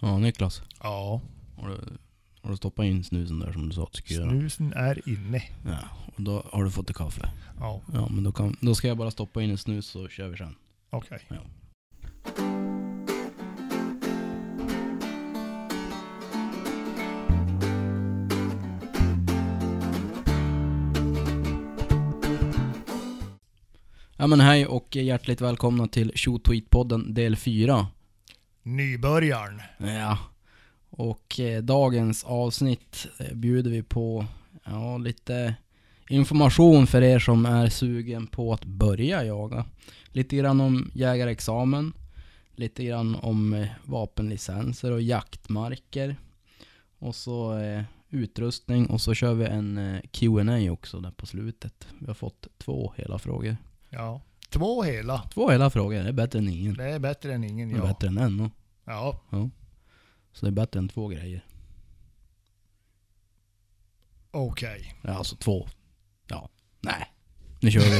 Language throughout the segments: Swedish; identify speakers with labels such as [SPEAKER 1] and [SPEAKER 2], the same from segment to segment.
[SPEAKER 1] Ja, Niklas.
[SPEAKER 2] Ja,
[SPEAKER 1] Har du, har du stoppat in snusen där som du sa att du skulle göra?
[SPEAKER 2] snusen är inne.
[SPEAKER 1] Ja, och då har du fått det kaffe.
[SPEAKER 2] Ja,
[SPEAKER 1] Ja, men då, kan, då ska jag bara stoppa in en snus så kör vi sen.
[SPEAKER 2] okej.
[SPEAKER 1] Ja men hej och hjärtligt välkomna till Tjotweetpodden del 4.
[SPEAKER 2] Nybörjaren.
[SPEAKER 1] Ja. Och eh, dagens avsnitt eh, bjuder vi på ja, lite information för er som är sugen på att börja jaga. Lite grann om jägarexamen, lite grann om eh, vapenlicenser och jaktmarker. Och så eh, utrustning och så kör vi en eh, Q&A också där på slutet. Vi har fått två hela frågor.
[SPEAKER 2] Ja. Två hela.
[SPEAKER 1] Två hela frågor, det är bättre än ingen.
[SPEAKER 2] Det är bättre än ingen
[SPEAKER 1] Det är
[SPEAKER 2] ja.
[SPEAKER 1] bättre än en. då.
[SPEAKER 2] Ja,
[SPEAKER 1] Så det är bättre än två grejer.
[SPEAKER 2] okej.
[SPEAKER 1] Ja, alltså två. Ja. Nej. Nu kör vi.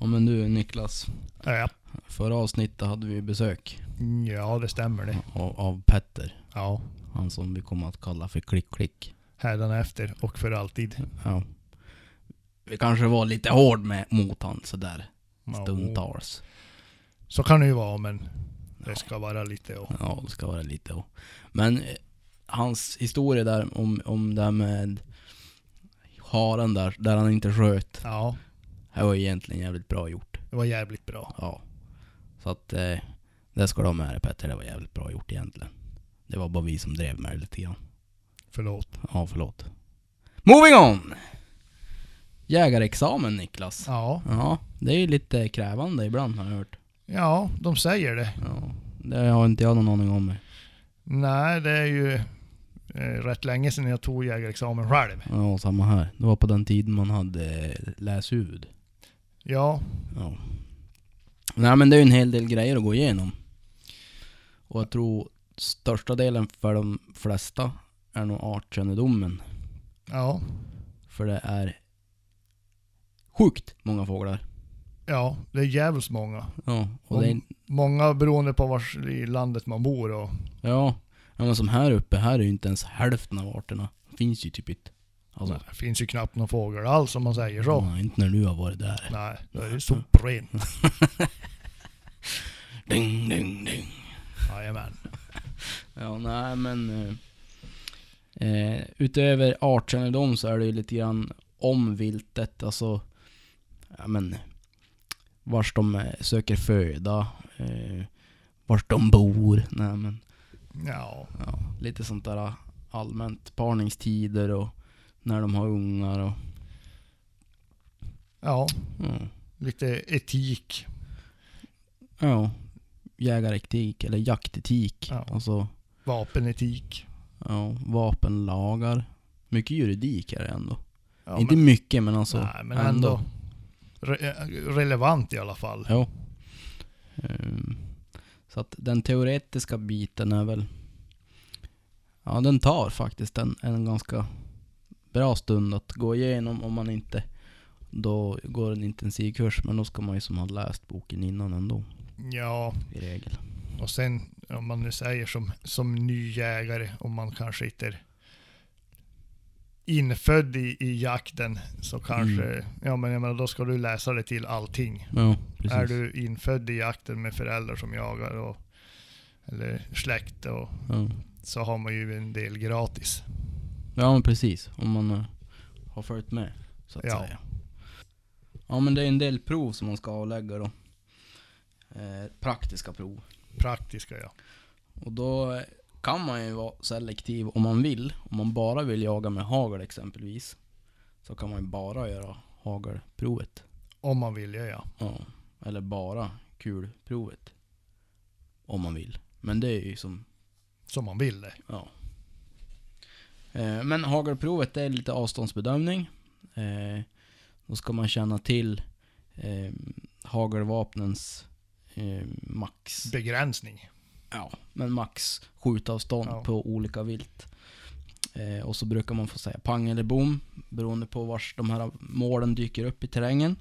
[SPEAKER 1] ja men du Niklas.
[SPEAKER 2] Ja.
[SPEAKER 1] Förra avsnittet hade vi besök
[SPEAKER 2] ja, det stämmer det.
[SPEAKER 1] av, av Petter.
[SPEAKER 2] Ja,
[SPEAKER 1] Han som vi kommer att kalla för Klick-Klick.
[SPEAKER 2] hädanefter och för alltid.
[SPEAKER 1] Ja. Vi kanske var lite hård med, mot han sådär
[SPEAKER 2] Ja, oh.
[SPEAKER 1] stundtals.
[SPEAKER 2] Så kan det ju vara, men det ska vara lite och...
[SPEAKER 1] Ja, det ska vara lite och. Men eh, hans historia där om, om det här med haren där, där han inte sköt.
[SPEAKER 2] Ja,
[SPEAKER 1] Det var egentligen jävligt bra gjort.
[SPEAKER 2] det var jävligt bra.
[SPEAKER 1] Ja. Så att eh, det ska du ha med dig Petter, det var jävligt bra gjort egentligen. Det var bara vi som drev med det lite grann.
[SPEAKER 2] Förlåt.
[SPEAKER 1] Ja, förlåt. Moving on! Jägarexamen Niklas.
[SPEAKER 2] Ja,
[SPEAKER 1] Ja, det är ju lite krävande ibland har jag hört.
[SPEAKER 2] ja, de säger det.
[SPEAKER 1] Ja, det har inte jag någon aning om.
[SPEAKER 2] Nej, det är ju eh, rätt länge sedan jag tog jägarexamen själv.
[SPEAKER 1] Ja, samma här. Det var på den tiden man hade eh, läshuvud.
[SPEAKER 2] Ja,
[SPEAKER 1] Ja. Nej men det är ju en hel del grejer att gå igenom. Och jag tror största delen för de flesta är nog artkännedomen.
[SPEAKER 2] ja,
[SPEAKER 1] För det är sjukt många fåglar.
[SPEAKER 2] ja, det är jävligt många.
[SPEAKER 1] Ja, och det är,
[SPEAKER 2] Många beroende på var i landet man bor och
[SPEAKER 1] ja, ja, men som här uppe, här är ju inte ens hälften av arterna. Finns ju typ inte. Alltså,
[SPEAKER 2] det finns ju knappt någon fågel alls om man säger så.
[SPEAKER 1] nej, inte när du har varit där.
[SPEAKER 2] Nej, då är det soprent.
[SPEAKER 1] Ding, ding, ding.
[SPEAKER 2] Jajamän.
[SPEAKER 1] Ja, nej men... eh, Eh, utöver artkännedom så är det ju lite grann om viltet, alltså... Ja men... Vars de eh, söker föda, eh, vars de bor, nej men...
[SPEAKER 2] Ja,
[SPEAKER 1] Ja, lite sånt där äh, allmänt. Parningstider och när de har ungar och...
[SPEAKER 2] ja,
[SPEAKER 1] Ja,
[SPEAKER 2] lite etik.
[SPEAKER 1] ja jägaretik eller jaktetik.
[SPEAKER 2] Ja.
[SPEAKER 1] Alltså,
[SPEAKER 2] Vapenetik.
[SPEAKER 1] ja, vapenlagar. Mycket juridik är det ändå.
[SPEAKER 2] Ja,
[SPEAKER 1] Inte
[SPEAKER 2] men,
[SPEAKER 1] mycket men alltså...
[SPEAKER 2] nej, men ändå. Re eh, relevant i alla fall.
[SPEAKER 1] Jo. Ehm, Så att den teoretiska biten är väl... Ja, den tar faktiskt en, en ganska bra stund att gå igenom om man inte då går en intensivkurs. Men då ska man ju som ha läst boken innan ändå,
[SPEAKER 2] Ja,
[SPEAKER 1] i regel.
[SPEAKER 2] och sen om man nu säger som, som ny jägare, om man kanske inte är infödd i, i jakten så kanske,
[SPEAKER 1] Mm.
[SPEAKER 2] ja men jag menar då ska du läsa det till allting.
[SPEAKER 1] Ja, precis.
[SPEAKER 2] Är du infödd i jakten med föräldrar som jagar och, eller släkt och,
[SPEAKER 1] Ja,
[SPEAKER 2] så har man ju en del gratis.
[SPEAKER 1] ja men precis. Om man eh, har följt med, så att
[SPEAKER 2] Ja.
[SPEAKER 1] säga. Ja, men det är en del prov som man ska avlägga då. Eh, praktiska prov.
[SPEAKER 2] Praktiska ja.
[SPEAKER 1] Och då kan man ju vara selektiv om man vill. Om man bara vill jaga med hagel exempelvis. Så kan man ju bara göra hagelprovet.
[SPEAKER 2] Om man vill ja. ja.
[SPEAKER 1] Ja. Eller bara kulprovet. Om man vill. Men det är ju som,
[SPEAKER 2] Som man vill det.
[SPEAKER 1] ja. Eh, Men hagelprovet det är lite avståndsbedömning. Eh, Då ska man känna till eh, hagelvapnens eh, max.
[SPEAKER 2] Begränsning.
[SPEAKER 1] Ja, men max skjutavstånd
[SPEAKER 2] Ja.
[SPEAKER 1] på olika vilt. Eh, och så brukar man få säga pang eller bom, beroende på vars de här målen dyker upp i terrängen.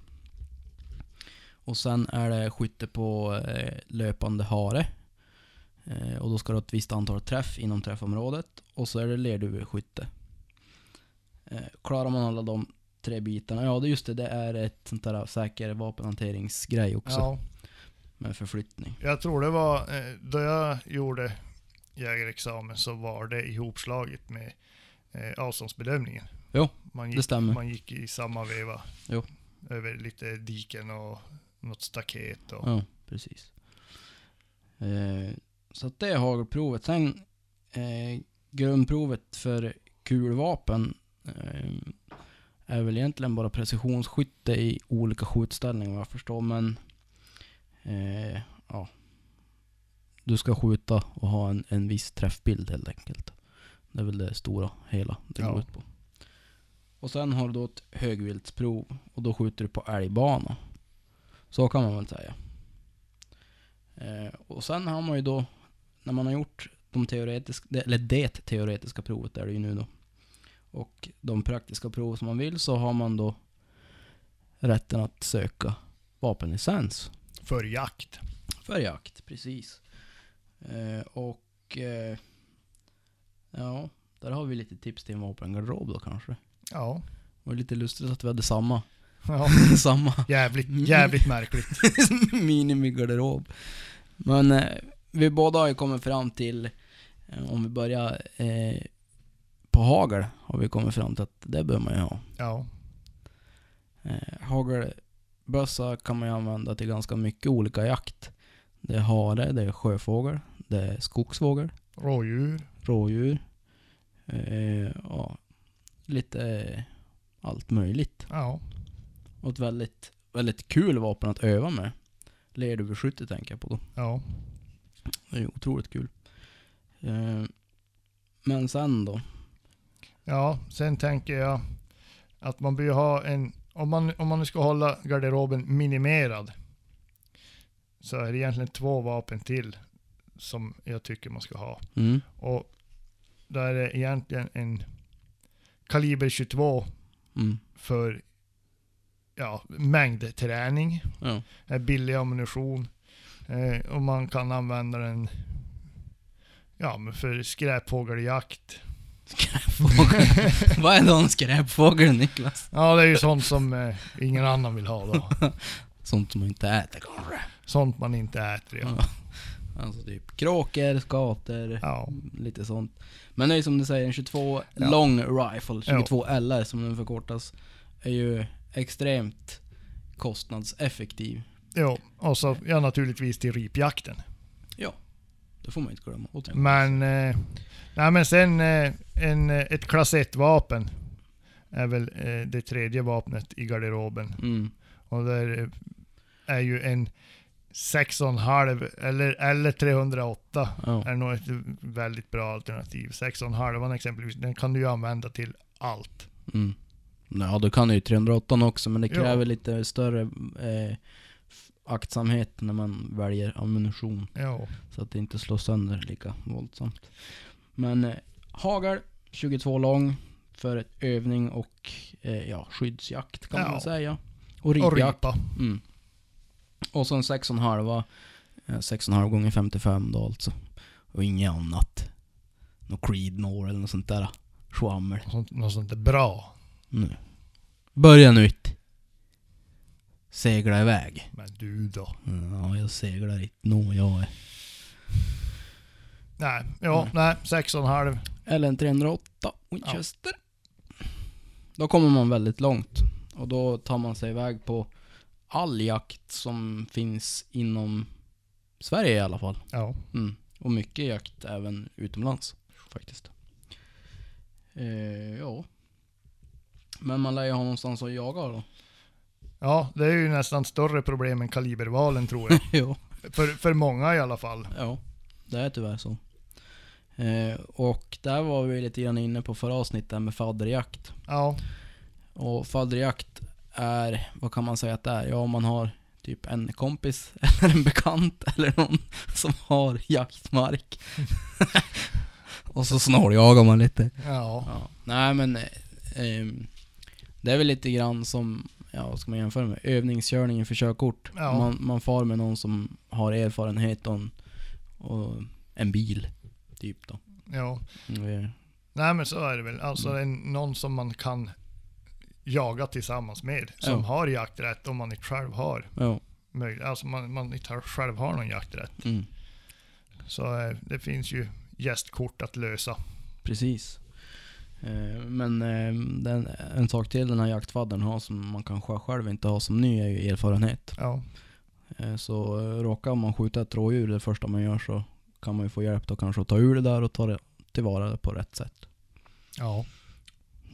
[SPEAKER 1] Och sen är det skytte på eh, löpande hare. Eh, och då ska du ha ett visst antal träff inom träffområdet och så är det lerduveskytte. Eh, klarar man alla de tre bitarna, ja det just det, det är ett sånt där säker vapenhanteringsgrej också
[SPEAKER 2] Ja,
[SPEAKER 1] med förflyttning.
[SPEAKER 2] jag tror det var, eh, då jag gjorde jägarexamen så var det ihopslaget med eh, avståndsbedömningen.
[SPEAKER 1] Jo,
[SPEAKER 2] man
[SPEAKER 1] det
[SPEAKER 2] gick,
[SPEAKER 1] stämmer.
[SPEAKER 2] man gick i samma veva.
[SPEAKER 1] Jo.
[SPEAKER 2] Över lite diken och något staket. Och,
[SPEAKER 1] Ja, precis. Eh, så att det är hagelprovet. Sen eh, grundprovet för kulvapen eh, är väl egentligen bara precisionsskytte i olika skjutställningar vad jag förstår. Men eh, ja, du ska skjuta och ha en, en viss träffbild helt enkelt. Det är väl det stora hela det går
[SPEAKER 2] Ja.
[SPEAKER 1] ut på. Och sen har du då ett högviltsprov och då skjuter du på älgbana. Så kan man väl säga. Eh, och sen har man ju då, när man har gjort de teoretiska, eller det teoretiska provet är det ju nu då. Och de praktiska prov som man vill så har man då rätten att söka vapenlicens.
[SPEAKER 2] För jakt.
[SPEAKER 1] För jakt, precis. Eh, och eh, ja, där har vi lite tips till en vapengarderob då kanske. Det
[SPEAKER 2] Ja.
[SPEAKER 1] var lite lustigt att vi hade samma,
[SPEAKER 2] ja.
[SPEAKER 1] samma
[SPEAKER 2] Jävligt, jävligt märkligt.
[SPEAKER 1] minimigarderob. Men eh, vi båda har ju kommit fram till, eh, om vi börjar eh, på hagel, har vi kommit fram till att det bör man ju ha.
[SPEAKER 2] Ja.
[SPEAKER 1] Eh, hagelbössa kan man ju använda till ganska mycket olika jakt. Det är hare, det är sjöfågel, det är skogsfågel,
[SPEAKER 2] Rådjur.
[SPEAKER 1] rådjur. Eh, ja, lite eh, allt möjligt.
[SPEAKER 2] Ja.
[SPEAKER 1] Och ett väldigt, väldigt kul vapen att öva med. Lerduveskytte tänker jag på då.
[SPEAKER 2] Ja.
[SPEAKER 1] Det är ju otroligt kul. Eh, men sen då?
[SPEAKER 2] Ja, sen tänker jag att man bör ha en, om man, om man nu ska hålla garderoben minimerad, så är det egentligen två vapen till som jag tycker man ska ha.
[SPEAKER 1] Mm.
[SPEAKER 2] Och där är det egentligen en kaliber 22
[SPEAKER 1] Mm.
[SPEAKER 2] för ja, mängdträning,
[SPEAKER 1] Ja.
[SPEAKER 2] är Eh, billig ammunition eh, och man kan använda den ja, men för skräphågeljakt.
[SPEAKER 1] Skräpfågel. Vad är då en skräpfågel Niklas?
[SPEAKER 2] Ja, det är ju sånt som eh, ingen annan vill ha då.
[SPEAKER 1] Sånt som man inte äter kanske.
[SPEAKER 2] Sånt man inte äter. Ja.
[SPEAKER 1] Ja. Alltså typ kråkor, skator,
[SPEAKER 2] Ja.
[SPEAKER 1] lite sånt. Men det är ju som du säger, en 22
[SPEAKER 2] Ja.
[SPEAKER 1] long rifle, 22 LR som den förkortas, är ju extremt kostnadseffektiv.
[SPEAKER 2] Jo, och så ja, naturligtvis till ripjakten.
[SPEAKER 1] Det får man inte glömma att tänka på.
[SPEAKER 2] Men, eh, nej, men sen eh, en, eh, ett klass 1-vapen är väl eh, det tredje vapnet i garderoben.
[SPEAKER 1] Mm.
[SPEAKER 2] Och där eh, är ju en 6,5 eller, eller 308
[SPEAKER 1] Ja.
[SPEAKER 2] är nog ett väldigt bra alternativ. 6,5 exempelvis, den kan du ju använda till allt.
[SPEAKER 1] Mm. Ja, du kan ju 308 också, men det
[SPEAKER 2] Ja.
[SPEAKER 1] kräver lite större eh, f- aktsamhet när man väljer ammunition.
[SPEAKER 2] Jo.
[SPEAKER 1] Så att det inte slår sönder lika våldsamt. Men eh, hagel, 22 lång, för ett övning och eh, ja, skyddsjakt kan
[SPEAKER 2] Ja.
[SPEAKER 1] man säga. Och
[SPEAKER 2] Och
[SPEAKER 1] ripjakt.
[SPEAKER 2] ripa.
[SPEAKER 1] Mm. Och så en 6,5 eh, 6,5 gånger 55 då alltså. Och inget annat. Något Creedmore eller något sånt där. Schwammel.
[SPEAKER 2] Sånt, något sånt där bra.
[SPEAKER 1] Nu. Börja nytt. Segla iväg.
[SPEAKER 2] Men du då?
[SPEAKER 1] Ja, jag seglar inte nog jag är.
[SPEAKER 2] Nej, ja,
[SPEAKER 1] Nej.
[SPEAKER 2] nej, 6,5.
[SPEAKER 1] Eller en 308 Winchester. Då kommer man väldigt långt. Och då tar man sig iväg på all jakt som finns inom Sverige i alla fall.
[SPEAKER 2] Ja.
[SPEAKER 1] Mm. Och mycket jakt även utomlands faktiskt. Eh, ja. Men man lär ju ha någonstans att jaga då.
[SPEAKER 2] ja, det är ju nästan större problem än kalibervalen tror jag.
[SPEAKER 1] jo.
[SPEAKER 2] för, för många i alla fall.
[SPEAKER 1] Ja, det är tyvärr så. Eh, och där var vi lite grann inne på förra avsnittet där med fadderjakt.
[SPEAKER 2] Ja,
[SPEAKER 1] Och fadderjakt är, vad kan man säga att det är? Ja, om man har typ en kompis eller en bekant eller någon som har jaktmark. och så snåljagar man lite.
[SPEAKER 2] ja,
[SPEAKER 1] Ja. Nej men, eh, ehm, det är väl lite grann som, ja vad ska man jämföra med? Övningskörningen för körkort.
[SPEAKER 2] Ja.
[SPEAKER 1] Man, man far med någon som har erfarenhet och, en- och en bil. Typ då.
[SPEAKER 2] Ja.
[SPEAKER 1] Mm,
[SPEAKER 2] Nej men så är det väl. Alltså en, någon som man kan jaga tillsammans med. Som
[SPEAKER 1] Ja.
[SPEAKER 2] har jakträtt om man inte själv har
[SPEAKER 1] Ja.
[SPEAKER 2] möjlighet. Alltså man, man inte har- själv har någon jakträtt.
[SPEAKER 1] Mm.
[SPEAKER 2] Så eh, det finns ju gästkort att lösa.
[SPEAKER 1] Precis. Eh, Men eh, den, en sak till den här jaktfaddern har som man kanske själv inte har som ny är ju erfarenhet.
[SPEAKER 2] Ja.
[SPEAKER 1] Eh, Så eh, råkar man skjuta ett rådjur det första man gör så kan man ju få hjälp då kanske att ta ur det där och ta det tillvara det på rätt sätt.
[SPEAKER 2] Ja.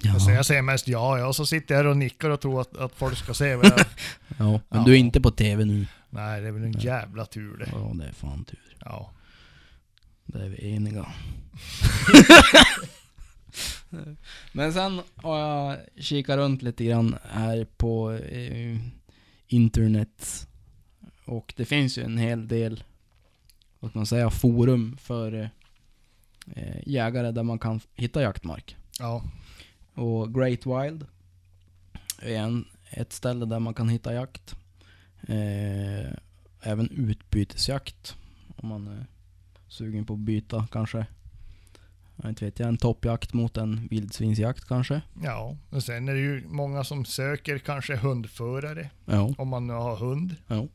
[SPEAKER 1] Ja,
[SPEAKER 2] Så jag säger mest ja, ja. Så sitter jag här och nickar och tror att, att folk ska se vad jag...
[SPEAKER 1] ja men
[SPEAKER 2] Ja.
[SPEAKER 1] du är inte på TV nu.
[SPEAKER 2] Nej, det är väl en jävla tur det.
[SPEAKER 1] Ja, det är fan tur.
[SPEAKER 2] Ja.
[SPEAKER 1] Det är vi eniga. Men sen har jag kikat runt lite grann här på eh, internet. Och det finns ju en hel del, vad ska man säga, forum för eh, eh, jägare där man kan hitta jaktmark.
[SPEAKER 2] Ja.
[SPEAKER 1] Och Great Wild är en, ett ställe där man kan hitta jakt. Eh, även utbytesjakt. Om man är sugen på att byta kanske. Jag inte vet jag, en toppjakt mot en vildsvinsjakt kanske.
[SPEAKER 2] Ja. Och sen är det ju många som söker kanske hundförare.
[SPEAKER 1] Ja.
[SPEAKER 2] Om man nu har hund.
[SPEAKER 1] Ja.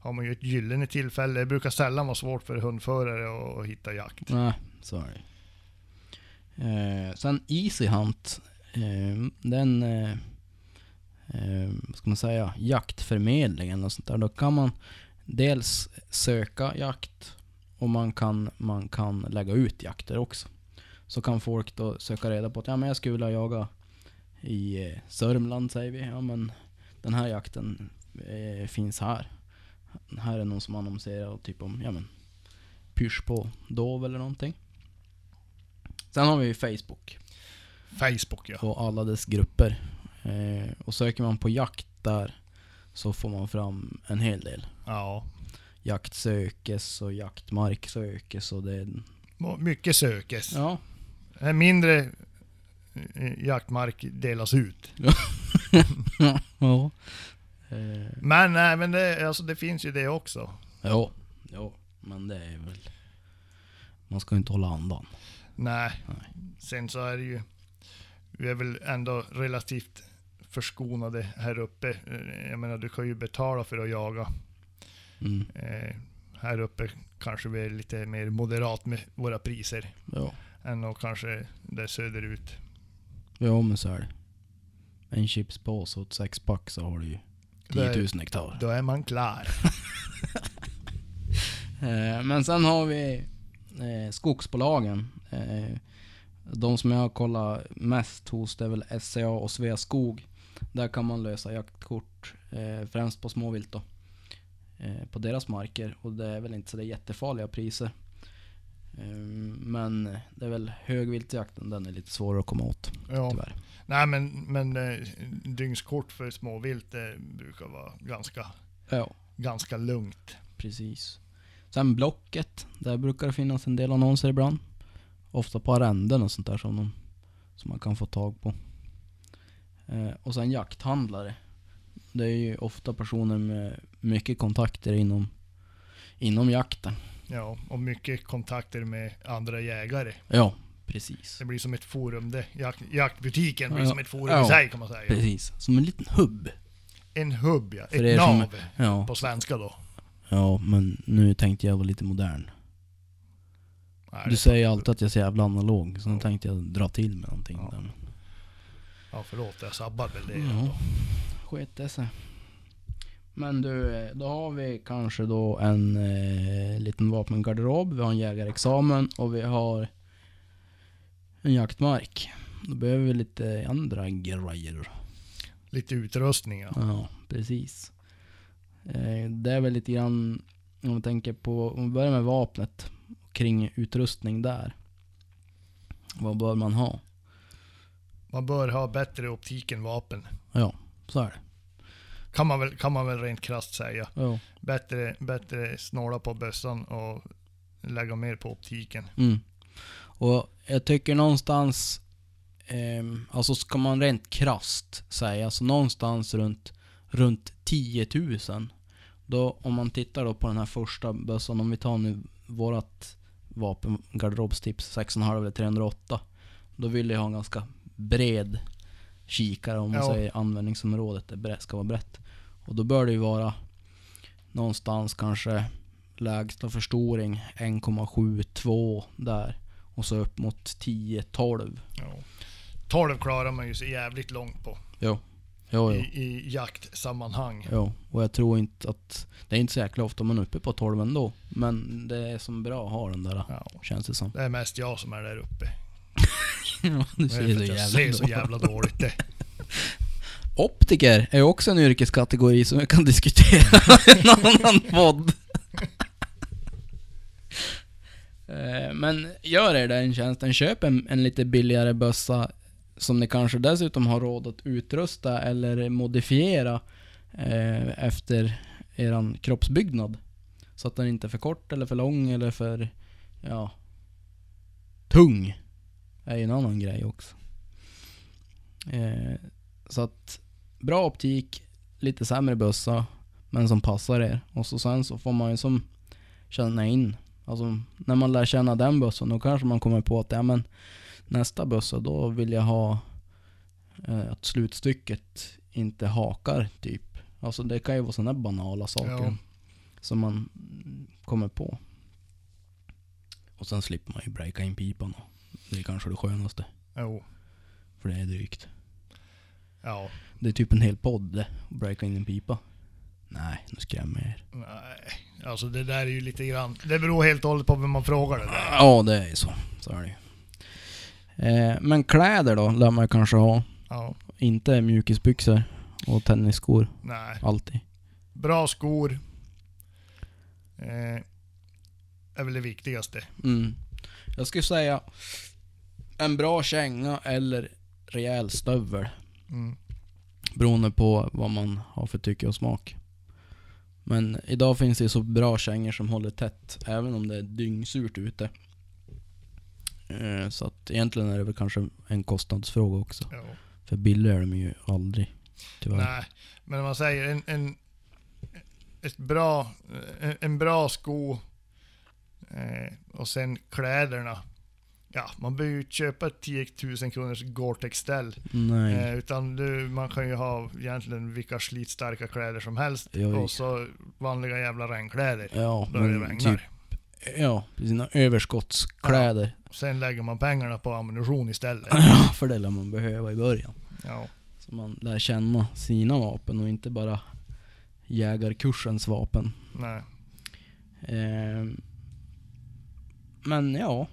[SPEAKER 2] Har man ju ett gyllene tillfälle. Det brukar sällan vara svårt för hundförare att- att hitta jakt.
[SPEAKER 1] Nej, så är det. Eh, sen Easy Hunt. Eh, den, eh, eh, vad ska man säga, jaktförmedlingen och sånt där. Då kan man dels söka jakt och man kan, man kan lägga ut jakter också. Så kan folk då söka reda på att ja, men jag skulle vilja jaga i eh, Sörmland säger vi. Ja men den här jakten eh, finns här. Här är någon som annonserar typ om ja, men, pysch på Dov eller någonting. Sen har vi ju Facebook
[SPEAKER 2] Facebook ja.
[SPEAKER 1] och alla dess grupper. Eh, och söker man på jakt där så får man fram en hel del.
[SPEAKER 2] Ja.
[SPEAKER 1] Jakt sökes och jaktmark sökes och det...
[SPEAKER 2] Må- Mycket sökes.
[SPEAKER 1] Ja,
[SPEAKER 2] En mindre eh, jaktmark delas ut.
[SPEAKER 1] ja. Eh,
[SPEAKER 2] Men nej, men det, alltså, det finns ju det också.
[SPEAKER 1] ja, ja, men det är väl... Man ska ju inte hålla andan.
[SPEAKER 2] Nej.
[SPEAKER 1] Nej.
[SPEAKER 2] Sen så är det ju, vi är väl ändå relativt förskonade här uppe. Eh, Jag menar, du kan ju betala för att jaga.
[SPEAKER 1] Mm,
[SPEAKER 2] Eh, här uppe kanske vi är lite mer moderat med våra priser
[SPEAKER 1] ja.
[SPEAKER 2] än att kanske där söderut.
[SPEAKER 1] ja, men så är det. En chipspåse och ett sexpack så har du ju 10 000 hektar.
[SPEAKER 2] Då är man klar.
[SPEAKER 1] Eh, Men sen har vi eh, skogsbolagen. Eh, de som jag har kollat mest hos det är väl SCA och Sveaskog. Där kan man lösa jaktkort, eh, främst på småvilt då. Eh, på deras marker och det är väl inte så det är jättefarliga priser. Eh, men det är väl högviltjakten, den är lite svårare att komma åt
[SPEAKER 2] Ja.
[SPEAKER 1] tyvärr.
[SPEAKER 2] Nej men, men eh, dygnskort för småvilt det brukar vara ganska,
[SPEAKER 1] Ja,
[SPEAKER 2] ganska lugnt.
[SPEAKER 1] precis. Sen Blocket, där brukar det finnas en del annonser ibland. Ofta på arrenden och sånt där som, de, som man kan få tag på. Eh, och sen jakthandlare. Det är ju ofta personer med mycket kontakter inom, inom jakten.
[SPEAKER 2] Ja, och mycket kontakter med andra jägare.
[SPEAKER 1] Ja, precis.
[SPEAKER 2] Det blir som ett forum det. Jak jaktbutiken blir
[SPEAKER 1] Ja.
[SPEAKER 2] som ett forum
[SPEAKER 1] Ja.
[SPEAKER 2] i sig kan man säga.
[SPEAKER 1] Precis. Som en liten hubb.
[SPEAKER 2] En hubb ja.
[SPEAKER 1] För er
[SPEAKER 2] Ett
[SPEAKER 1] som-
[SPEAKER 2] nav
[SPEAKER 1] Ja,
[SPEAKER 2] på svenska då.
[SPEAKER 1] ja, men nu tänkte jag vara lite modern.
[SPEAKER 2] Nej,
[SPEAKER 1] Du säger alltid att jag är så jävla analog, så nu
[SPEAKER 2] Ja.
[SPEAKER 1] tänkte jag dra till med någonting.
[SPEAKER 2] Ja.
[SPEAKER 1] Där.
[SPEAKER 2] Ja förlåt, jag sabbar väl det.
[SPEAKER 1] Ja.
[SPEAKER 2] då.
[SPEAKER 1] Skit det sig. Men du, eh, då har vi kanske då en eh, liten vapengarderob, vi har en jägarexamen och vi har en jaktmark. Då behöver vi lite andra grejer.
[SPEAKER 2] Lite utrustning ja.
[SPEAKER 1] Ja, precis. Eh, Det är väl lite grann, om man tänker på, om vi börjar med vapnet, kring utrustning där. Vad bör man ha?
[SPEAKER 2] Man bör ha bättre optik än vapen.
[SPEAKER 1] Ja, så är det.
[SPEAKER 2] Kan man väl, kan man väl rent krasst säga.
[SPEAKER 1] Ja.
[SPEAKER 2] Bättre, bättre snåla på bössan och lägga mer på optiken.
[SPEAKER 1] Mm. Och jag tycker någonstans, ehm, alltså ska man rent krasst säga, så någonstans runt, runt 10 000. Då, om man tittar då på den här första bössan, om vi tar nu vårat, vapen, garderobstips 6,5 eller 308. Då vill jag ha en ganska bred kikare om man
[SPEAKER 2] Ja.
[SPEAKER 1] säger användningsområdet är brett, ska vara brett. Och då bör det ju vara någonstans kanske lägsta förstoring 1,7, 2 där. Och så upp mot 10, 12.
[SPEAKER 2] Ja. 12 klarar man ju sig jävligt långt på
[SPEAKER 1] Jo. Jo, jo.
[SPEAKER 2] i, i jaktsammanhang.
[SPEAKER 1] Jo, och jag tror inte att... Det är inte så jäkla ofta man är uppe på 12 ändå. Men det är som bra att ha den där,
[SPEAKER 2] Ja.
[SPEAKER 1] känns det som.
[SPEAKER 2] Det är mest jag som är där uppe.
[SPEAKER 1] Ja, du
[SPEAKER 2] Det är för att jag ser så jävla dåligt det.
[SPEAKER 1] Optiker är också en yrkeskategori som vi kan diskutera i en annan podd. Eh, Men gör er den tjänsten, köp en, en lite billigare bössa som ni kanske dessutom har råd att utrusta eller modifiera eh, efter eran kroppsbyggnad. Så att den inte är för kort eller för lång eller för, ja, tung. är ju en annan grej också. Eh, så att bra optik, lite sämre bössa, men som passar er. Och så sen så får man ju som känna in. Alltså när man lär känna den bössan då kanske man kommer på att ja men nästa bössa då vill jag ha eh, att slutstycket inte hakar typ. Alltså det kan ju vara sådana banala saker
[SPEAKER 2] Ja.
[SPEAKER 1] som man mm, kommer på. Och sen slipper man ju breaka in pipan. Det är kanske det skönaste.
[SPEAKER 2] Jo.
[SPEAKER 1] För det är drygt.
[SPEAKER 2] Ja.
[SPEAKER 1] Det är typ en hel podd det. att Breaka in en pipa. Nej, nu skrämmer jag er.
[SPEAKER 2] Nej. Alltså det där är ju lite grann... Det beror helt och hållet på vem man frågar det där.
[SPEAKER 1] Ja, det är ju så. Så är det ju. Eh, men kläder då, lär man kanske ha.
[SPEAKER 2] Ja.
[SPEAKER 1] Inte mjukisbyxor och tennisskor.
[SPEAKER 2] Nej.
[SPEAKER 1] Alltid.
[SPEAKER 2] Bra skor. Eh, är väl det viktigaste.
[SPEAKER 1] Mm. Jag skulle säga en bra känga eller rejäl stövel.
[SPEAKER 2] Mm.
[SPEAKER 1] Beroende på vad man har för tycke och smak. Men idag finns det ju så bra kängor som håller tätt, även om det är dyngsurt ute. Eh, Så att egentligen är det väl kanske en kostnadsfråga också.
[SPEAKER 2] Ja.
[SPEAKER 1] För billigare är de ju aldrig, tyvärr.
[SPEAKER 2] Nej. Men om man säger en... en ett bra, en, en bra sko eh, och sen kläderna. Ja, man behöver ju inte köpa 10 000 kronors Gore-Tex-ställ.
[SPEAKER 1] Nej.
[SPEAKER 2] Eh, utan du, man kan ju ha egentligen vilka slitstarka kläder som helst.
[SPEAKER 1] Ja,
[SPEAKER 2] och
[SPEAKER 1] visst.
[SPEAKER 2] så vanliga jävla regnkläder.
[SPEAKER 1] ja,
[SPEAKER 2] Då det
[SPEAKER 1] men
[SPEAKER 2] regnar.
[SPEAKER 1] typ, ja, sina överskottskläder.
[SPEAKER 2] Sen lägger man pengarna på ammunition istället.
[SPEAKER 1] Ja. för det lär man behöva i början.
[SPEAKER 2] Ja,
[SPEAKER 1] Så man lär känna sina vapen och inte bara jägarkursens vapen.
[SPEAKER 2] nej.
[SPEAKER 1] Ehm, Men ja,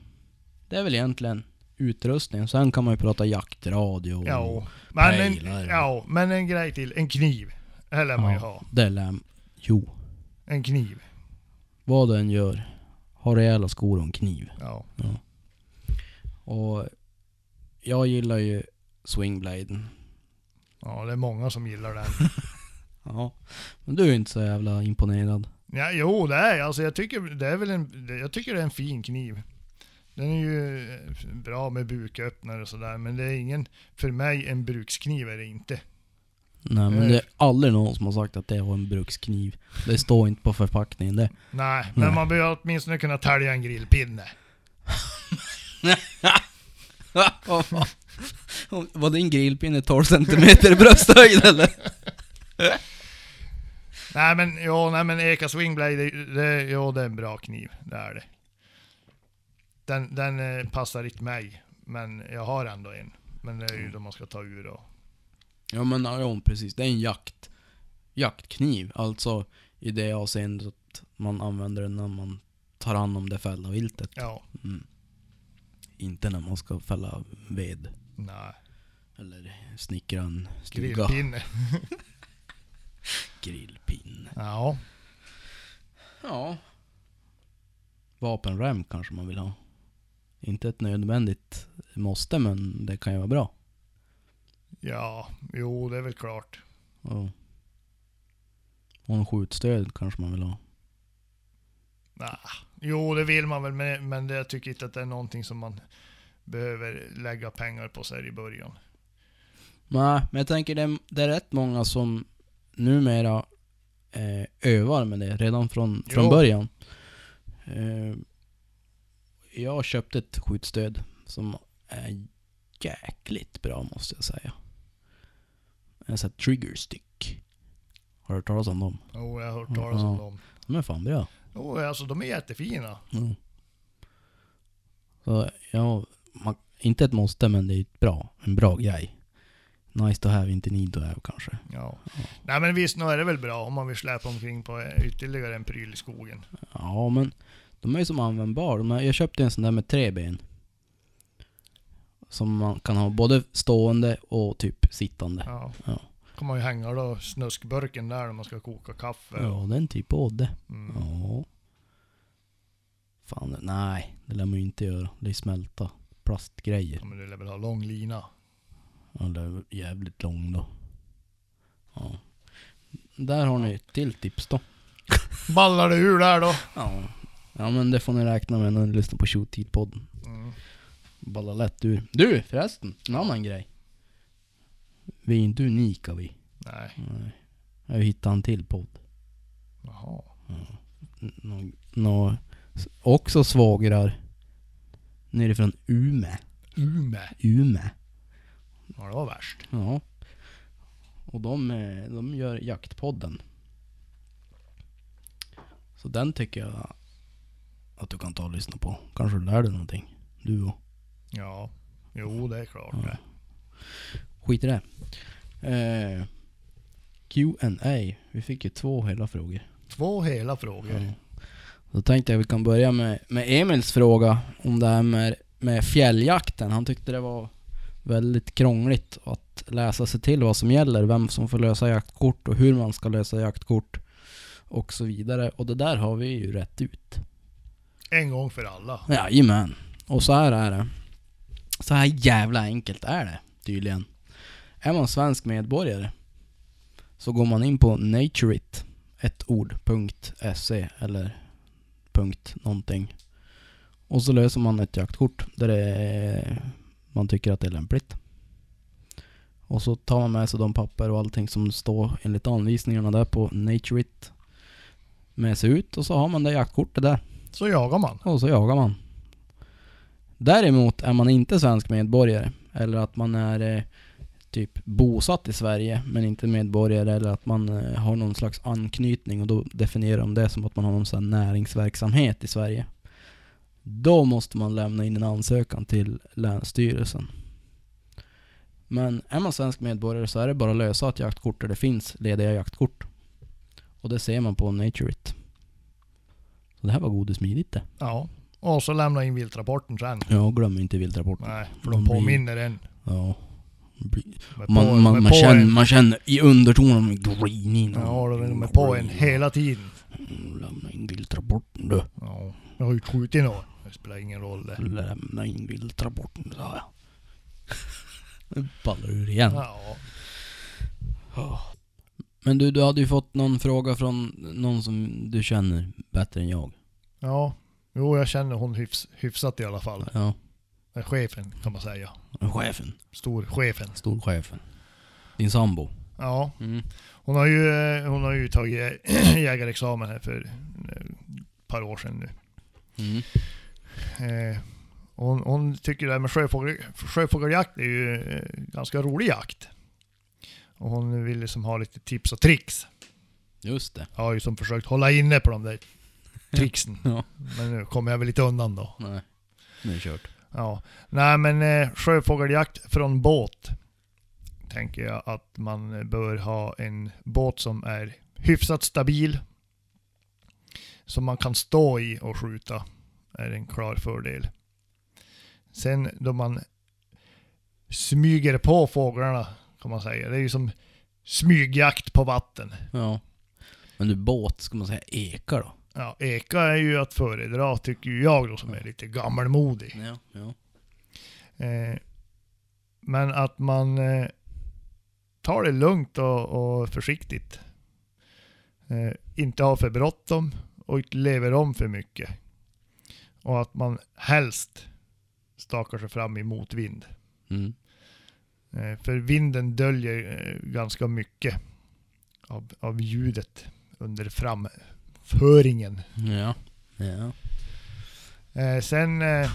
[SPEAKER 1] det är väl egentligen utrustningen. Sen kan man ju prata jaktradio och
[SPEAKER 2] Ja, men
[SPEAKER 1] pejlar.
[SPEAKER 2] en, ja, men en grej till. En kniv. Det lär man ju ha.
[SPEAKER 1] det lär Jo,
[SPEAKER 2] En kniv.
[SPEAKER 1] vad du än gör, ha rejäla skor och en kniv.
[SPEAKER 2] Ja.
[SPEAKER 1] Och jag gillar ju swingbladen.
[SPEAKER 2] ja, det är många som gillar den.
[SPEAKER 1] Ja, men du är inte så jävla imponerad.
[SPEAKER 2] Ja, jo, det är alltså, jag. Tycker, det är väl en, det- jag tycker det är en fin kniv. Den är ju eh, bra med buköppnare och sådär, men det är ingen, för mig en brukskniv är det inte.
[SPEAKER 1] Nej men
[SPEAKER 2] Nej.
[SPEAKER 1] det är aldrig någon som har sagt att det var en brukskniv. Det står inte på förpackningen det.
[SPEAKER 2] Nej, men
[SPEAKER 1] Nej.
[SPEAKER 2] man behöver åtminstone kunna tälja en grillpinne.
[SPEAKER 1] var din grillpinne 12 cm i brösthöjd eller?
[SPEAKER 2] Nej men, ja, nej men Eka Swingblade, det, det, ja det är en bra kniv, det är det. Den, den eh, passar inte mig, men jag har ändå en. Men det är ju då man ska ta ur och...
[SPEAKER 1] Ja men ja, precis, det är en jakt jaktkniv. Alltså i det avseendet att man använder den när man tar hand om det fällda viltet.
[SPEAKER 2] Ja,
[SPEAKER 1] Mm. Inte när man ska fälla ved
[SPEAKER 2] nej.
[SPEAKER 1] eller snickra en stuga.
[SPEAKER 2] Grillpinne.
[SPEAKER 1] Grillpinne.
[SPEAKER 2] Ja,
[SPEAKER 1] Ja. Vapenrem kanske man vill ha. Inte ett nödvändigt måste men det kan ju vara bra.
[SPEAKER 2] ja, jo det är väl klart.
[SPEAKER 1] Ja. Och en skjutstöd kanske man vill ha.
[SPEAKER 2] Nah. Jo det vill man väl, men, men det, jag tycker inte att det är någonting som man behöver lägga pengar på så här i början.
[SPEAKER 1] Nej, men jag tänker det, det är rätt många som numera eh, övar med det redan från, från
[SPEAKER 2] Jo.
[SPEAKER 1] början. Eh, jag köpte ett skjutstöd som är jäkligt bra måste jag säga. En sån här trigger stick. Har du hört talas om dem?
[SPEAKER 2] Jo, jag har hört talas om
[SPEAKER 1] Ja.
[SPEAKER 2] dem.
[SPEAKER 1] De är fan bra.
[SPEAKER 2] Jo, alltså de är jättefina.
[SPEAKER 1] Mm. Så ja, man, inte ett måste men det är ett bra, en bra grej. Nice to have, inte need to have kanske.
[SPEAKER 2] Ja. Nej men visst, nu är det väl bra om man vill släpa omkring på ytterligare en pryl i skogen.
[SPEAKER 1] Ja men, de är ju som användbar. De är, jag köpte en sån där med tre ben. Som man kan ha både stående och typ sittande.
[SPEAKER 2] Ja.
[SPEAKER 1] Ja.
[SPEAKER 2] kan man ju hänga då snuskburken där när man ska koka kaffe.
[SPEAKER 1] Ja, den typ både.
[SPEAKER 2] Mm.
[SPEAKER 1] Ja. Fan, nej. Det lär man ju inte göra. Det är smälta plastgrejer.
[SPEAKER 2] ja men du lär väl ha lång lina.
[SPEAKER 1] Ja, det är jävligt lång då. Ja. Där har ni ett till tips då.
[SPEAKER 2] Ballar det ur där då?
[SPEAKER 1] Ja. Ja men det får ni räkna med när ni lyssnar på Shoottid-podden.
[SPEAKER 2] Mm.
[SPEAKER 1] Balla lätt ur. Du förresten, en annan grej. Vi är inte unika vi.
[SPEAKER 2] Nej.
[SPEAKER 1] Nej. Jag har ju hittat en till podd.
[SPEAKER 2] Jaha.
[SPEAKER 1] N- nå- nå- s- också svagrar. Nerifrån Ume.
[SPEAKER 2] Ume.
[SPEAKER 1] Ume.
[SPEAKER 2] Ja det var värst.
[SPEAKER 1] Ja. Och de, eh, de gör Jaktpodden. Så den tycker jag att du kan ta och lyssna på. Kanske du lär dig någonting. Du och.
[SPEAKER 2] Ja. Jo det är klart
[SPEAKER 1] Ja.
[SPEAKER 2] det.
[SPEAKER 1] Skit i det. Eh, Q&A. Vi fick ju två hela frågor.
[SPEAKER 2] Två hela frågor.
[SPEAKER 1] Ja. Då tänkte jag vi kan börja med, med Emils fråga om det här med, med fjälljakten. Han tyckte det var väldigt krångligt att läsa sig till vad som gäller, vem som får lösa jaktkort och hur man ska lösa jaktkort och så vidare. Och det där har vi ju rätt ut.
[SPEAKER 2] En gång för alla.
[SPEAKER 1] Jajamän. Och så här är det. Så här jävla enkelt är det tydligen. Är man svensk medborgare så går man in på natureit, ett ord, punkt .se eller punkt någonting. Och så löser man ett jaktkort där det är, man tycker att det är lämpligt. Och så tar man med sig de papper och allting som står enligt anvisningarna där på natureit med sig ut och så har man det jaktkortet där.
[SPEAKER 2] Så jagar man.
[SPEAKER 1] Och så jagar man. Däremot är man inte svensk medborgare. Eller att man är eh, typ bosatt i Sverige men inte medborgare. Eller att man eh, har någon slags anknytning. Och då definierar de det som att man har någon sån här näringsverksamhet i Sverige. Då måste man lämna in en ansökan till Länsstyrelsen. Men är man svensk medborgare så är det bara att lösa ett jaktkort där det finns lediga jaktkort. Och det ser man på Naturit. Så det här var godis smidigt det.
[SPEAKER 2] Ja. Och så lämna in viltrapporten sen.
[SPEAKER 1] Ja, glöm inte viltrapporten.
[SPEAKER 2] Nej,
[SPEAKER 1] De
[SPEAKER 2] för de
[SPEAKER 1] blir-
[SPEAKER 2] påminner en.
[SPEAKER 1] Ja.
[SPEAKER 2] Med
[SPEAKER 1] Man,
[SPEAKER 2] på-
[SPEAKER 1] man,
[SPEAKER 2] med
[SPEAKER 1] man,
[SPEAKER 2] på
[SPEAKER 1] känner,
[SPEAKER 2] en-
[SPEAKER 1] man känner i undertonen, grinig.
[SPEAKER 2] Ja, de är på en hela tiden.
[SPEAKER 1] Lämna in viltrapporten du.
[SPEAKER 2] Ja. Jag har ju inte skjutit något. Det spelar ingen roll det.
[SPEAKER 1] Lämna in viltrapporten, sa jag. Nu ballar ur igen.
[SPEAKER 2] Ja.
[SPEAKER 1] Men du, du hade ju fått någon fråga från någon som du känner bättre än jag.
[SPEAKER 2] Ja. Jo, jag känner hon hyfs, hyfsat i alla fall.
[SPEAKER 1] Ja.
[SPEAKER 2] Eh, Chefen kan man säga.
[SPEAKER 1] Chefen.
[SPEAKER 2] Storchefen.
[SPEAKER 1] Storchefen. Din sambo.
[SPEAKER 2] Ja.
[SPEAKER 1] Mm.
[SPEAKER 2] Hon har ju, eh, hon har ju tagit jä- jägarexamen här för eh, ett par år sedan nu.
[SPEAKER 1] Mm.
[SPEAKER 2] Eh, Hon, hon tycker det här med sjöfågel, sjöfågeljakt är ju eh, ganska rolig jakt. Och hon vill liksom ha lite tips och tricks.
[SPEAKER 1] Just det.
[SPEAKER 2] Jag har ju som försökt hålla inne på de där tricksen.
[SPEAKER 1] Ja.
[SPEAKER 2] Men nu kommer jag väl lite undan då.
[SPEAKER 1] Nej. Nu är det kört.
[SPEAKER 2] Ja. Nej men eh, sjöfågeljakt från båt. Tänker jag att man eh, bör ha en båt som är hyfsat stabil. Som man kan stå i och skjuta. Är en klar fördel. Sen då man smyger på fåglarna kan man säga. Det är ju som smygjakt på vatten.
[SPEAKER 1] Ja. Men du, båt, ska man säga eka då?
[SPEAKER 2] Ja, eka är ju att föredra tycker ju jag då som är lite gammalmodig.
[SPEAKER 1] Ja. ja.
[SPEAKER 2] Eh, men att man eh, tar det lugnt och, och försiktigt. Eh, inte har för bråttom och inte lever om för mycket. Och att man helst stakar sig fram i motvind.
[SPEAKER 1] Mm.
[SPEAKER 2] Eh, för vinden döljer eh, ganska mycket av, av ljudet under framföringen.
[SPEAKER 1] Ja. ja.
[SPEAKER 2] Eh, sen... Eh,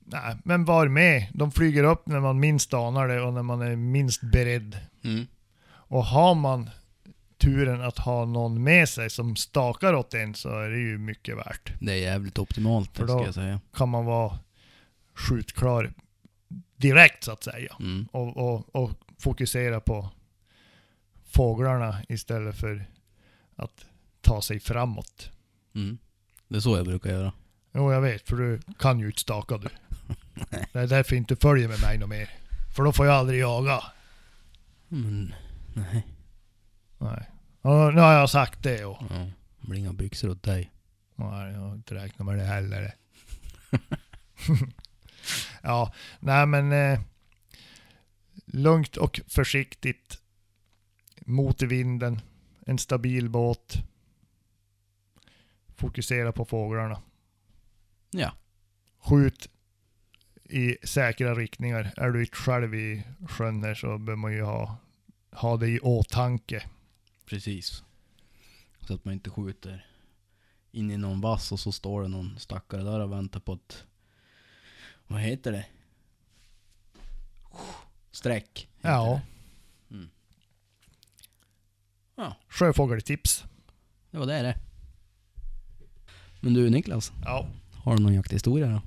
[SPEAKER 2] nej, men var med. De flyger upp när man minst anar det och när man är minst beredd.
[SPEAKER 1] Mm.
[SPEAKER 2] Och har man turen att ha någon med sig som stakar åt en så är det ju mycket värt.
[SPEAKER 1] Det är jävligt optimalt,
[SPEAKER 2] För
[SPEAKER 1] det
[SPEAKER 2] då-
[SPEAKER 1] ska jag säga.
[SPEAKER 2] Kan man vara skjutklar direkt så att säga.
[SPEAKER 1] Mm.
[SPEAKER 2] Och, och, och fokusera på fåglarna istället för att ta sig framåt.
[SPEAKER 1] Mm. Det är så jag brukar göra.
[SPEAKER 2] Jo, jag vet, för du kan ju inte staka du. Det är därför inte följer med mig något mer. För då får jag aldrig jaga.
[SPEAKER 1] Men, nej.
[SPEAKER 2] Nej. Ja, nu har jag sagt det och...
[SPEAKER 1] Ja. Det blir inga byxor åt dig.
[SPEAKER 2] Nej, jag har inte räknat med det heller. ja, nej men... Eh, lugnt och försiktigt. Mot i vinden. En stabil båt. Fokusera på fåglarna.
[SPEAKER 1] Ja.
[SPEAKER 2] Skjut i säkra riktningar. Är du inte själv i sjön här så bör man ju ha, ha det i åtanke.
[SPEAKER 1] Precis. Så att man inte skjuter in i någon vass och så står det någon stackare där och väntar på ett... Vad heter det? Streck. heter
[SPEAKER 2] Ja.
[SPEAKER 1] det. Mm. Ja.
[SPEAKER 2] Sjöfågeltips.
[SPEAKER 1] Det var det det. Men du Niklas,
[SPEAKER 2] Ja.
[SPEAKER 1] har du någon jakthistoria då?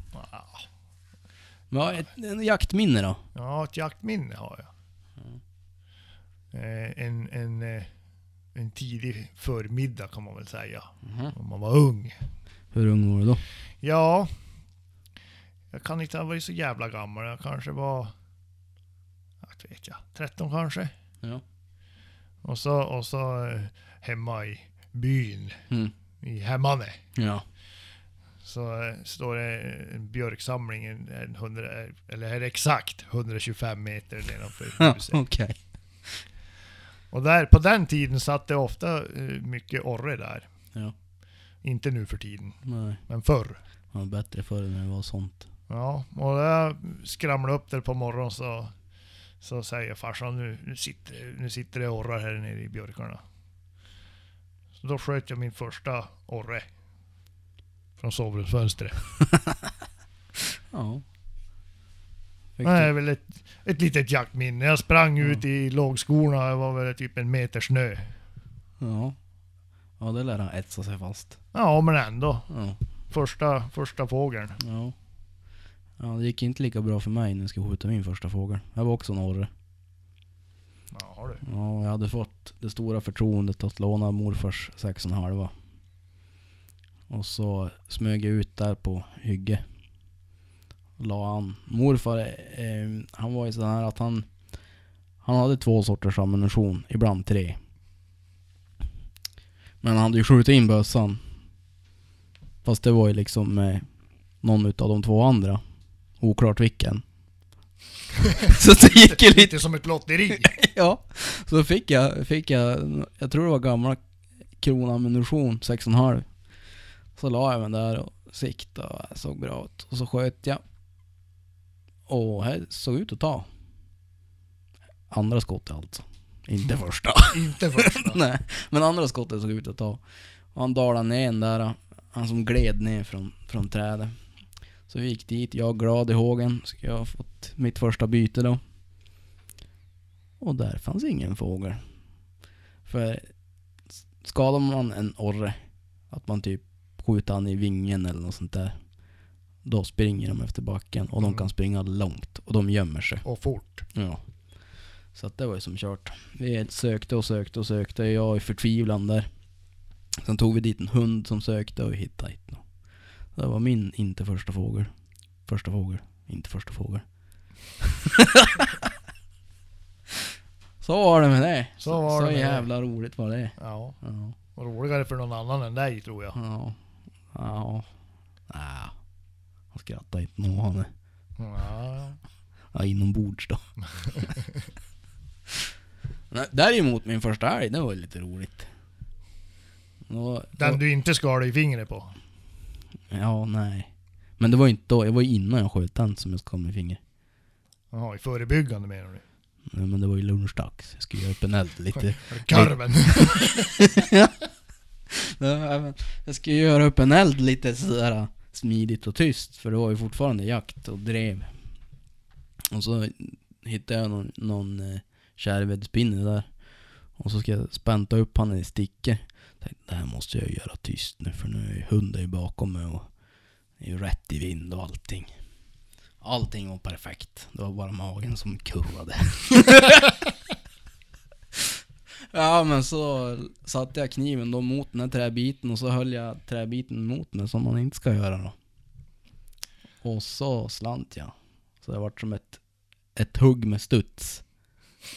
[SPEAKER 1] Ja, ett, en jaktminne då?
[SPEAKER 2] Ja, ett jaktminne har jag. Eh, En, en, eh, en tidig förmiddag kan man väl säga, om man var ung.
[SPEAKER 1] Hur ung var du då?
[SPEAKER 2] Ja, jag kan inte ha varit så jävla gammal. Jag kanske var, jag vet jag, 13 kanske.
[SPEAKER 1] Ja.
[SPEAKER 2] Och så, och så eh, hemma i byn,
[SPEAKER 1] Mm.
[SPEAKER 2] i Hemmane,
[SPEAKER 1] Ja.
[SPEAKER 2] så eh, står det en björksamling, en, en 100, eller är det exakt 125 meter nedanför huset.
[SPEAKER 1] Okej.
[SPEAKER 2] Och där, på den tiden satt det ofta eh, mycket orre där.
[SPEAKER 1] Ja.
[SPEAKER 2] Inte nu för tiden,
[SPEAKER 1] Nej.
[SPEAKER 2] men förr.
[SPEAKER 1] Det var bättre förr när det var sånt.
[SPEAKER 2] Ja, och när jag skramlade upp där på morgonen så, så säger farsan nu, nu, sitter, nu sitter det orrar här nere i björkarna. Så då sköt jag min första orre. Från sovrumsfönstret.
[SPEAKER 1] Ja.
[SPEAKER 2] Det
[SPEAKER 1] Fick
[SPEAKER 2] är
[SPEAKER 1] du,
[SPEAKER 2] väl ett, ett litet jaktminne. Jag sprang
[SPEAKER 1] Mm.
[SPEAKER 2] ut i lågskorna, det var väl typ en meter snö.
[SPEAKER 1] ja. Ja, det lär han etsa sig fast.
[SPEAKER 2] Ja, men ändå.
[SPEAKER 1] Ja.
[SPEAKER 2] Första, första fågeln.
[SPEAKER 1] Ja. Ja, det gick inte lika bra för mig när jag skulle skjuta min första fågel. Jag var också en orre.
[SPEAKER 2] Ja, du.
[SPEAKER 1] Ja, jag hade fått det stora förtroendet att låna morfars 6,5. Och så smög jag ut där på hygge. La han. Morfar, eh, han var ju sån här att han... Han hade två sorters ammunition, ibland tre. Men han hade ju skjutit in bössan. Fast det var ju liksom eh, någon utav de två andra. Oklart vilken. så det gick ju lite
[SPEAKER 2] Lite som ett lotteri.
[SPEAKER 1] Ja, så fick jag, fick jag, jag tror det var gamla kronammunition, 6,5. Så la jag mig där och siktade och jag såg bra ut. Och så sköt jag. Och det såg ut att ta. Andra skottet alltså. Inte första.
[SPEAKER 2] Inte första.
[SPEAKER 1] Nej, men andra skottet såg ut att ta. Och han dalade ner den där, han som gled ner från, från trädet. Så vi gick dit, jag glad i hågen, ska jag ha fått mitt första byte då. Och där fanns ingen fågel. För s- skadar man en orre, att man typ skjuter han i vingen eller något sånt där. Då springer de efter backen och de
[SPEAKER 2] Mm.
[SPEAKER 1] kan springa långt och de gömmer sig.
[SPEAKER 2] Och fort.
[SPEAKER 1] Ja. Så att det var ju som kört. Vi sökte och sökte och sökte. Jag i förtvivlan där. Sen tog vi dit en hund som sökte och vi hittade inte någon. Det var min inte första fågel. Första fågel. Inte första fågel. så var det med det.
[SPEAKER 2] Så var
[SPEAKER 1] så
[SPEAKER 2] det med det.
[SPEAKER 1] jävla roligt var det.
[SPEAKER 2] Ja,
[SPEAKER 1] Ja.
[SPEAKER 2] och roligare för någon annan än dig tror jag.
[SPEAKER 1] Ja. Ja. ja. Han skrattade inte nog han.
[SPEAKER 2] Ja,
[SPEAKER 1] Ja, inombords då. Nej, Däremot min första älg, det var ju lite roligt. Då,
[SPEAKER 2] den
[SPEAKER 1] då,
[SPEAKER 2] du inte skar dig i fingret på.
[SPEAKER 1] ja, nej. Men det var ju inte då, det var ju innan jag sköt den som jag skar med finger.
[SPEAKER 2] Jaha, i förebyggande menar du?
[SPEAKER 1] Nej, men det var ju lunchdags. Jag skulle göra upp en eld lite.
[SPEAKER 2] Karven.
[SPEAKER 1] Ja, men Jag ska ju göra upp en eld lite sådär smidigt och tyst, för det var ju fortfarande jakt och drev. Och så hittade jag någon, någon eh, kärvedspinne där. Och så ska jag spänta upp han i stickor. Tänkte, det här måste jag ju göra tyst nu, för nu är ju hunden ju bakom mig och det är ju rätt i vind och allting. Allting var perfekt. Det var bara magen som kurrade. Ja men så satte jag kniven då mot den här träbiten och så höll jag träbiten mot mig som man inte ska göra då. Och så slant jag. Så det vart som ett, ett hugg med studs.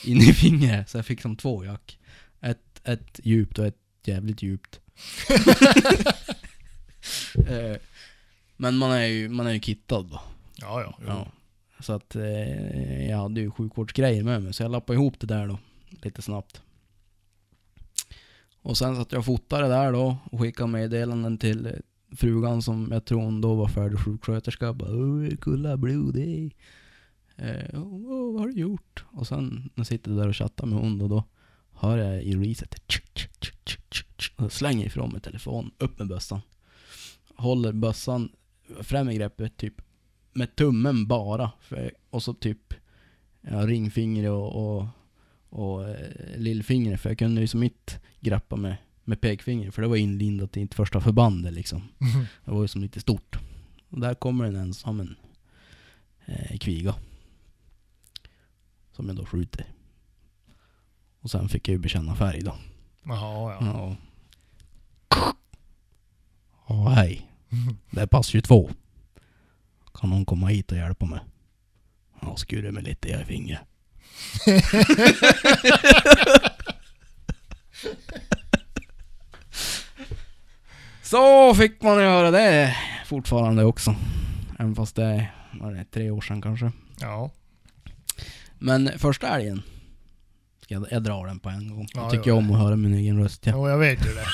[SPEAKER 1] In i fingret. Så jag fick som två jack. Ett, ett djupt och ett jävligt djupt. Eh, men man är ju, man är ju kittad då.
[SPEAKER 2] Ja, ja. jo.
[SPEAKER 1] Ja. Mm. Så att eh, jag hade ju sjukvårdsgrejer med mig, så jag lappade ihop det där då. Lite snabbt. Och sen satt jag och fotade det där då och skickade meddelanden till eh, frugan som jag tror hon då var färdig sjuksköterska. Bara "Åh, kolla blod ey." eh, "Åh, åh, Vad har du gjort? Och sen när jag sitter där och chattar med hon då, då hör jag i reset tsk, tsk, tsk, tsk, tsk, tsk. och slänger ifrån mig telefonen, upp med bössan. Håller bössan främre greppet typ med tummen bara. För, och så typ ja, ringfingret och, och, och eh, lillfingret. För jag kunde ju som inte greppa med, med pekfingret. För det var inlindat i ett första förbandet liksom. Det var ju som lite stort. Och där kommer den en som en eh, kviga. Som jag då skjuter. Och sen fick jag ju bekänna färg då.
[SPEAKER 2] Jaha, ja.
[SPEAKER 1] Ja. Ja, hej. Det är pass 22. Kan någon komma hit och hjälpa mig? Ja, skurit mig lite i fingret. Så fick man göra det fortfarande också. Även fast det är, vad är det, tre år sedan kanske.
[SPEAKER 2] Ja,
[SPEAKER 1] Men första älgen. Ska Jag, jag drar den på en gång.
[SPEAKER 2] Ja,
[SPEAKER 1] jag tycker
[SPEAKER 2] gör
[SPEAKER 1] om
[SPEAKER 2] det.
[SPEAKER 1] att höra min egen röst. Ja.
[SPEAKER 2] Jo, jag vet ju det.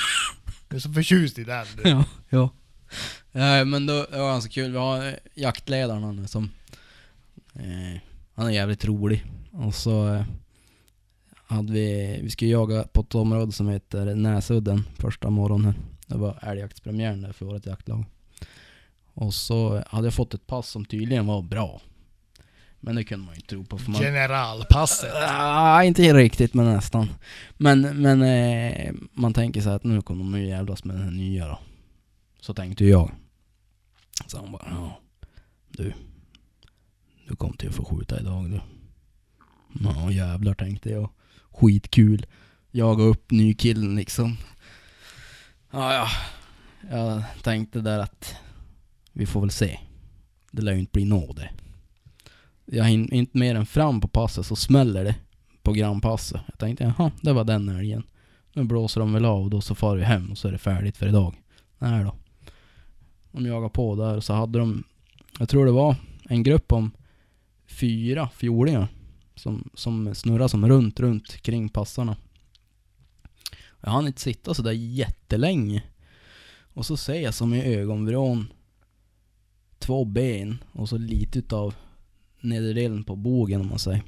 [SPEAKER 2] Du är så förtjust i den du.
[SPEAKER 1] Ja, ja. Eh, men då, det var ganska kul. Vi har eh, jaktledaren han är som... Eh, han är jävligt rolig. Och så eh, hade vi... Vi skulle jaga på ett område som heter Näsudden första morgonen. Det var älgjaktspremiären där för vårt jaktlag. Och så hade jag fått ett pass som tydligen var bra. Men det kunde man ju inte tro på för man...
[SPEAKER 2] Generalpasset.
[SPEAKER 1] Ah, inte riktigt men nästan. Men, men eh, man tänker så här att nu kommer de ju jävlas med den här nya då. Så tänkte ju jag. Så han bara, ja du. Du kom till att få skjuta idag du. Ja jävlar tänkte jag. Skitkul. Jaga upp ny killen liksom. Ja, ja. Jag tänkte där att vi får väl se. Det lär ju inte bli nå det. Jag hinner inte mer än fram på passet så smäller det på grannpasset. Jag tänkte jaha, det var den älgen. Nu blåser de väl av och då så far vi hem och så är det färdigt för idag. Nej då. De jagade på där och så hade de, jag tror det var en grupp om fyra fjolingar som, som snurrade som runt, runt kring passarna. Jag hann inte sitta sådär jättelänge. Och så ser jag som i ögonvrån två ben och så lite utav nederdelen på bogen om man säger.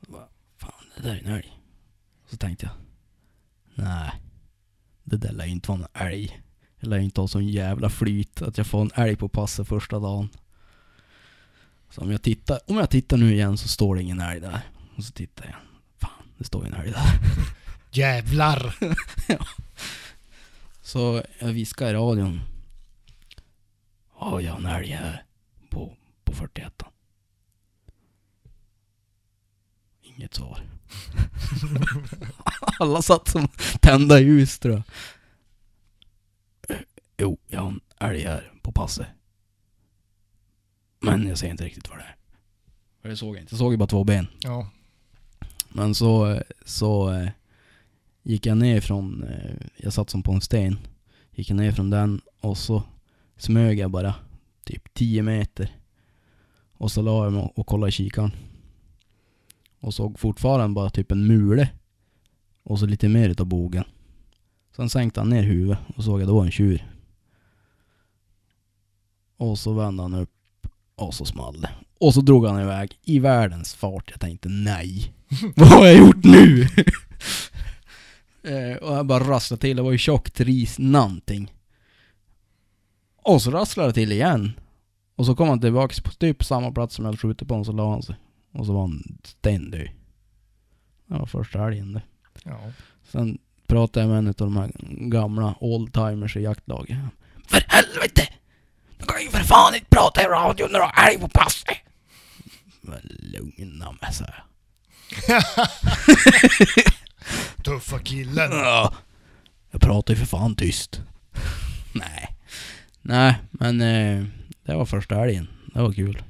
[SPEAKER 1] Jag bara, Fan, det där är en älg. Så tänkte jag, nej, det där lär ju inte vara en älg. Jag lär ju inte ha sån jävla flyt att jag får en älg på passet första dagen. Så om jag tittar, om jag tittar nu igen så står det ingen älg där. Och så tittar jag, fan, det står ju en älg där.
[SPEAKER 2] Jävlar!
[SPEAKER 1] Så jag viskade i radion. Ja, jag har en älg här på, på 41 Inget svar. Alla satt som tända ljus tror jag. Jo, jag har en älg här på passet. Men jag ser inte riktigt vad det är. För det såg jag inte. Jag såg ju bara två ben.
[SPEAKER 2] Ja.
[SPEAKER 1] Men så, så eh, gick jag ner från, eh, jag satt som på en sten, gick jag ner från den och så smög jag bara typ 10 meter. Och så la jag mig och kollade i kikaren. Och såg fortfarande bara typ en mule. Och så lite mer utav bogen. Sen sänkte han ner huvudet och såg att det var en tjur. Och så vände han upp och så small det. Och så drog han iväg i världens fart. Jag tänkte nej. Vad har jag gjort nu? Eh, och jag bara rasslade till, det var ju tjockt ris, någonting. Och så rasslade det till igen. Och så kom han tillbaks på typ samma plats som jag hade skjutit på honom, så la han sig. Och så var han stendöd. Det var första helgen det.
[SPEAKER 2] Ja.
[SPEAKER 1] Sen pratade jag med en av de här gamla oldtimers i jaktlaget. För helvete! Du kan ju för fan inte prata i radio när du har älg på passet! Men lugna mig, sa jag.
[SPEAKER 2] Tuffa killen.
[SPEAKER 1] Ja. Jag pratar ju för fan tyst. Nej. Nej, men eh, det var första helgen. Det var kul.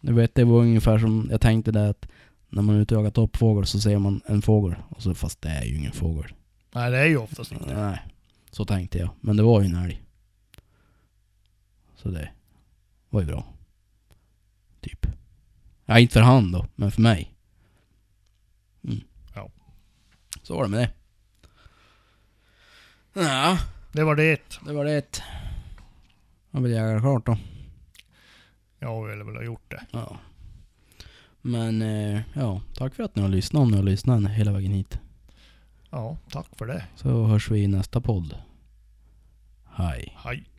[SPEAKER 1] Du vet, det var ungefär som jag tänkte där att när man är ute och jagar toppfågel så ser man en fågel. Och så, fast det är ju ingen fågel.
[SPEAKER 2] Nej, det är ju oftast inte.
[SPEAKER 1] Nej, så tänkte jag. Men det var ju en älg. Så det var ju bra. Typ. Ja, inte för han då, men för mig. Mm.
[SPEAKER 2] Ja.
[SPEAKER 1] Så var det med det. Ja,
[SPEAKER 2] Det var det.
[SPEAKER 1] det var det. Jag vill jaga klart då.
[SPEAKER 2] Jag ville väl ha gjort det.
[SPEAKER 1] Ja. Men eh, ja, tack för att ni har lyssnat om ni har lyssnat hela vägen hit.
[SPEAKER 2] Ja, tack för det.
[SPEAKER 1] Så hörs vi i nästa podd. Hej.
[SPEAKER 2] Hej.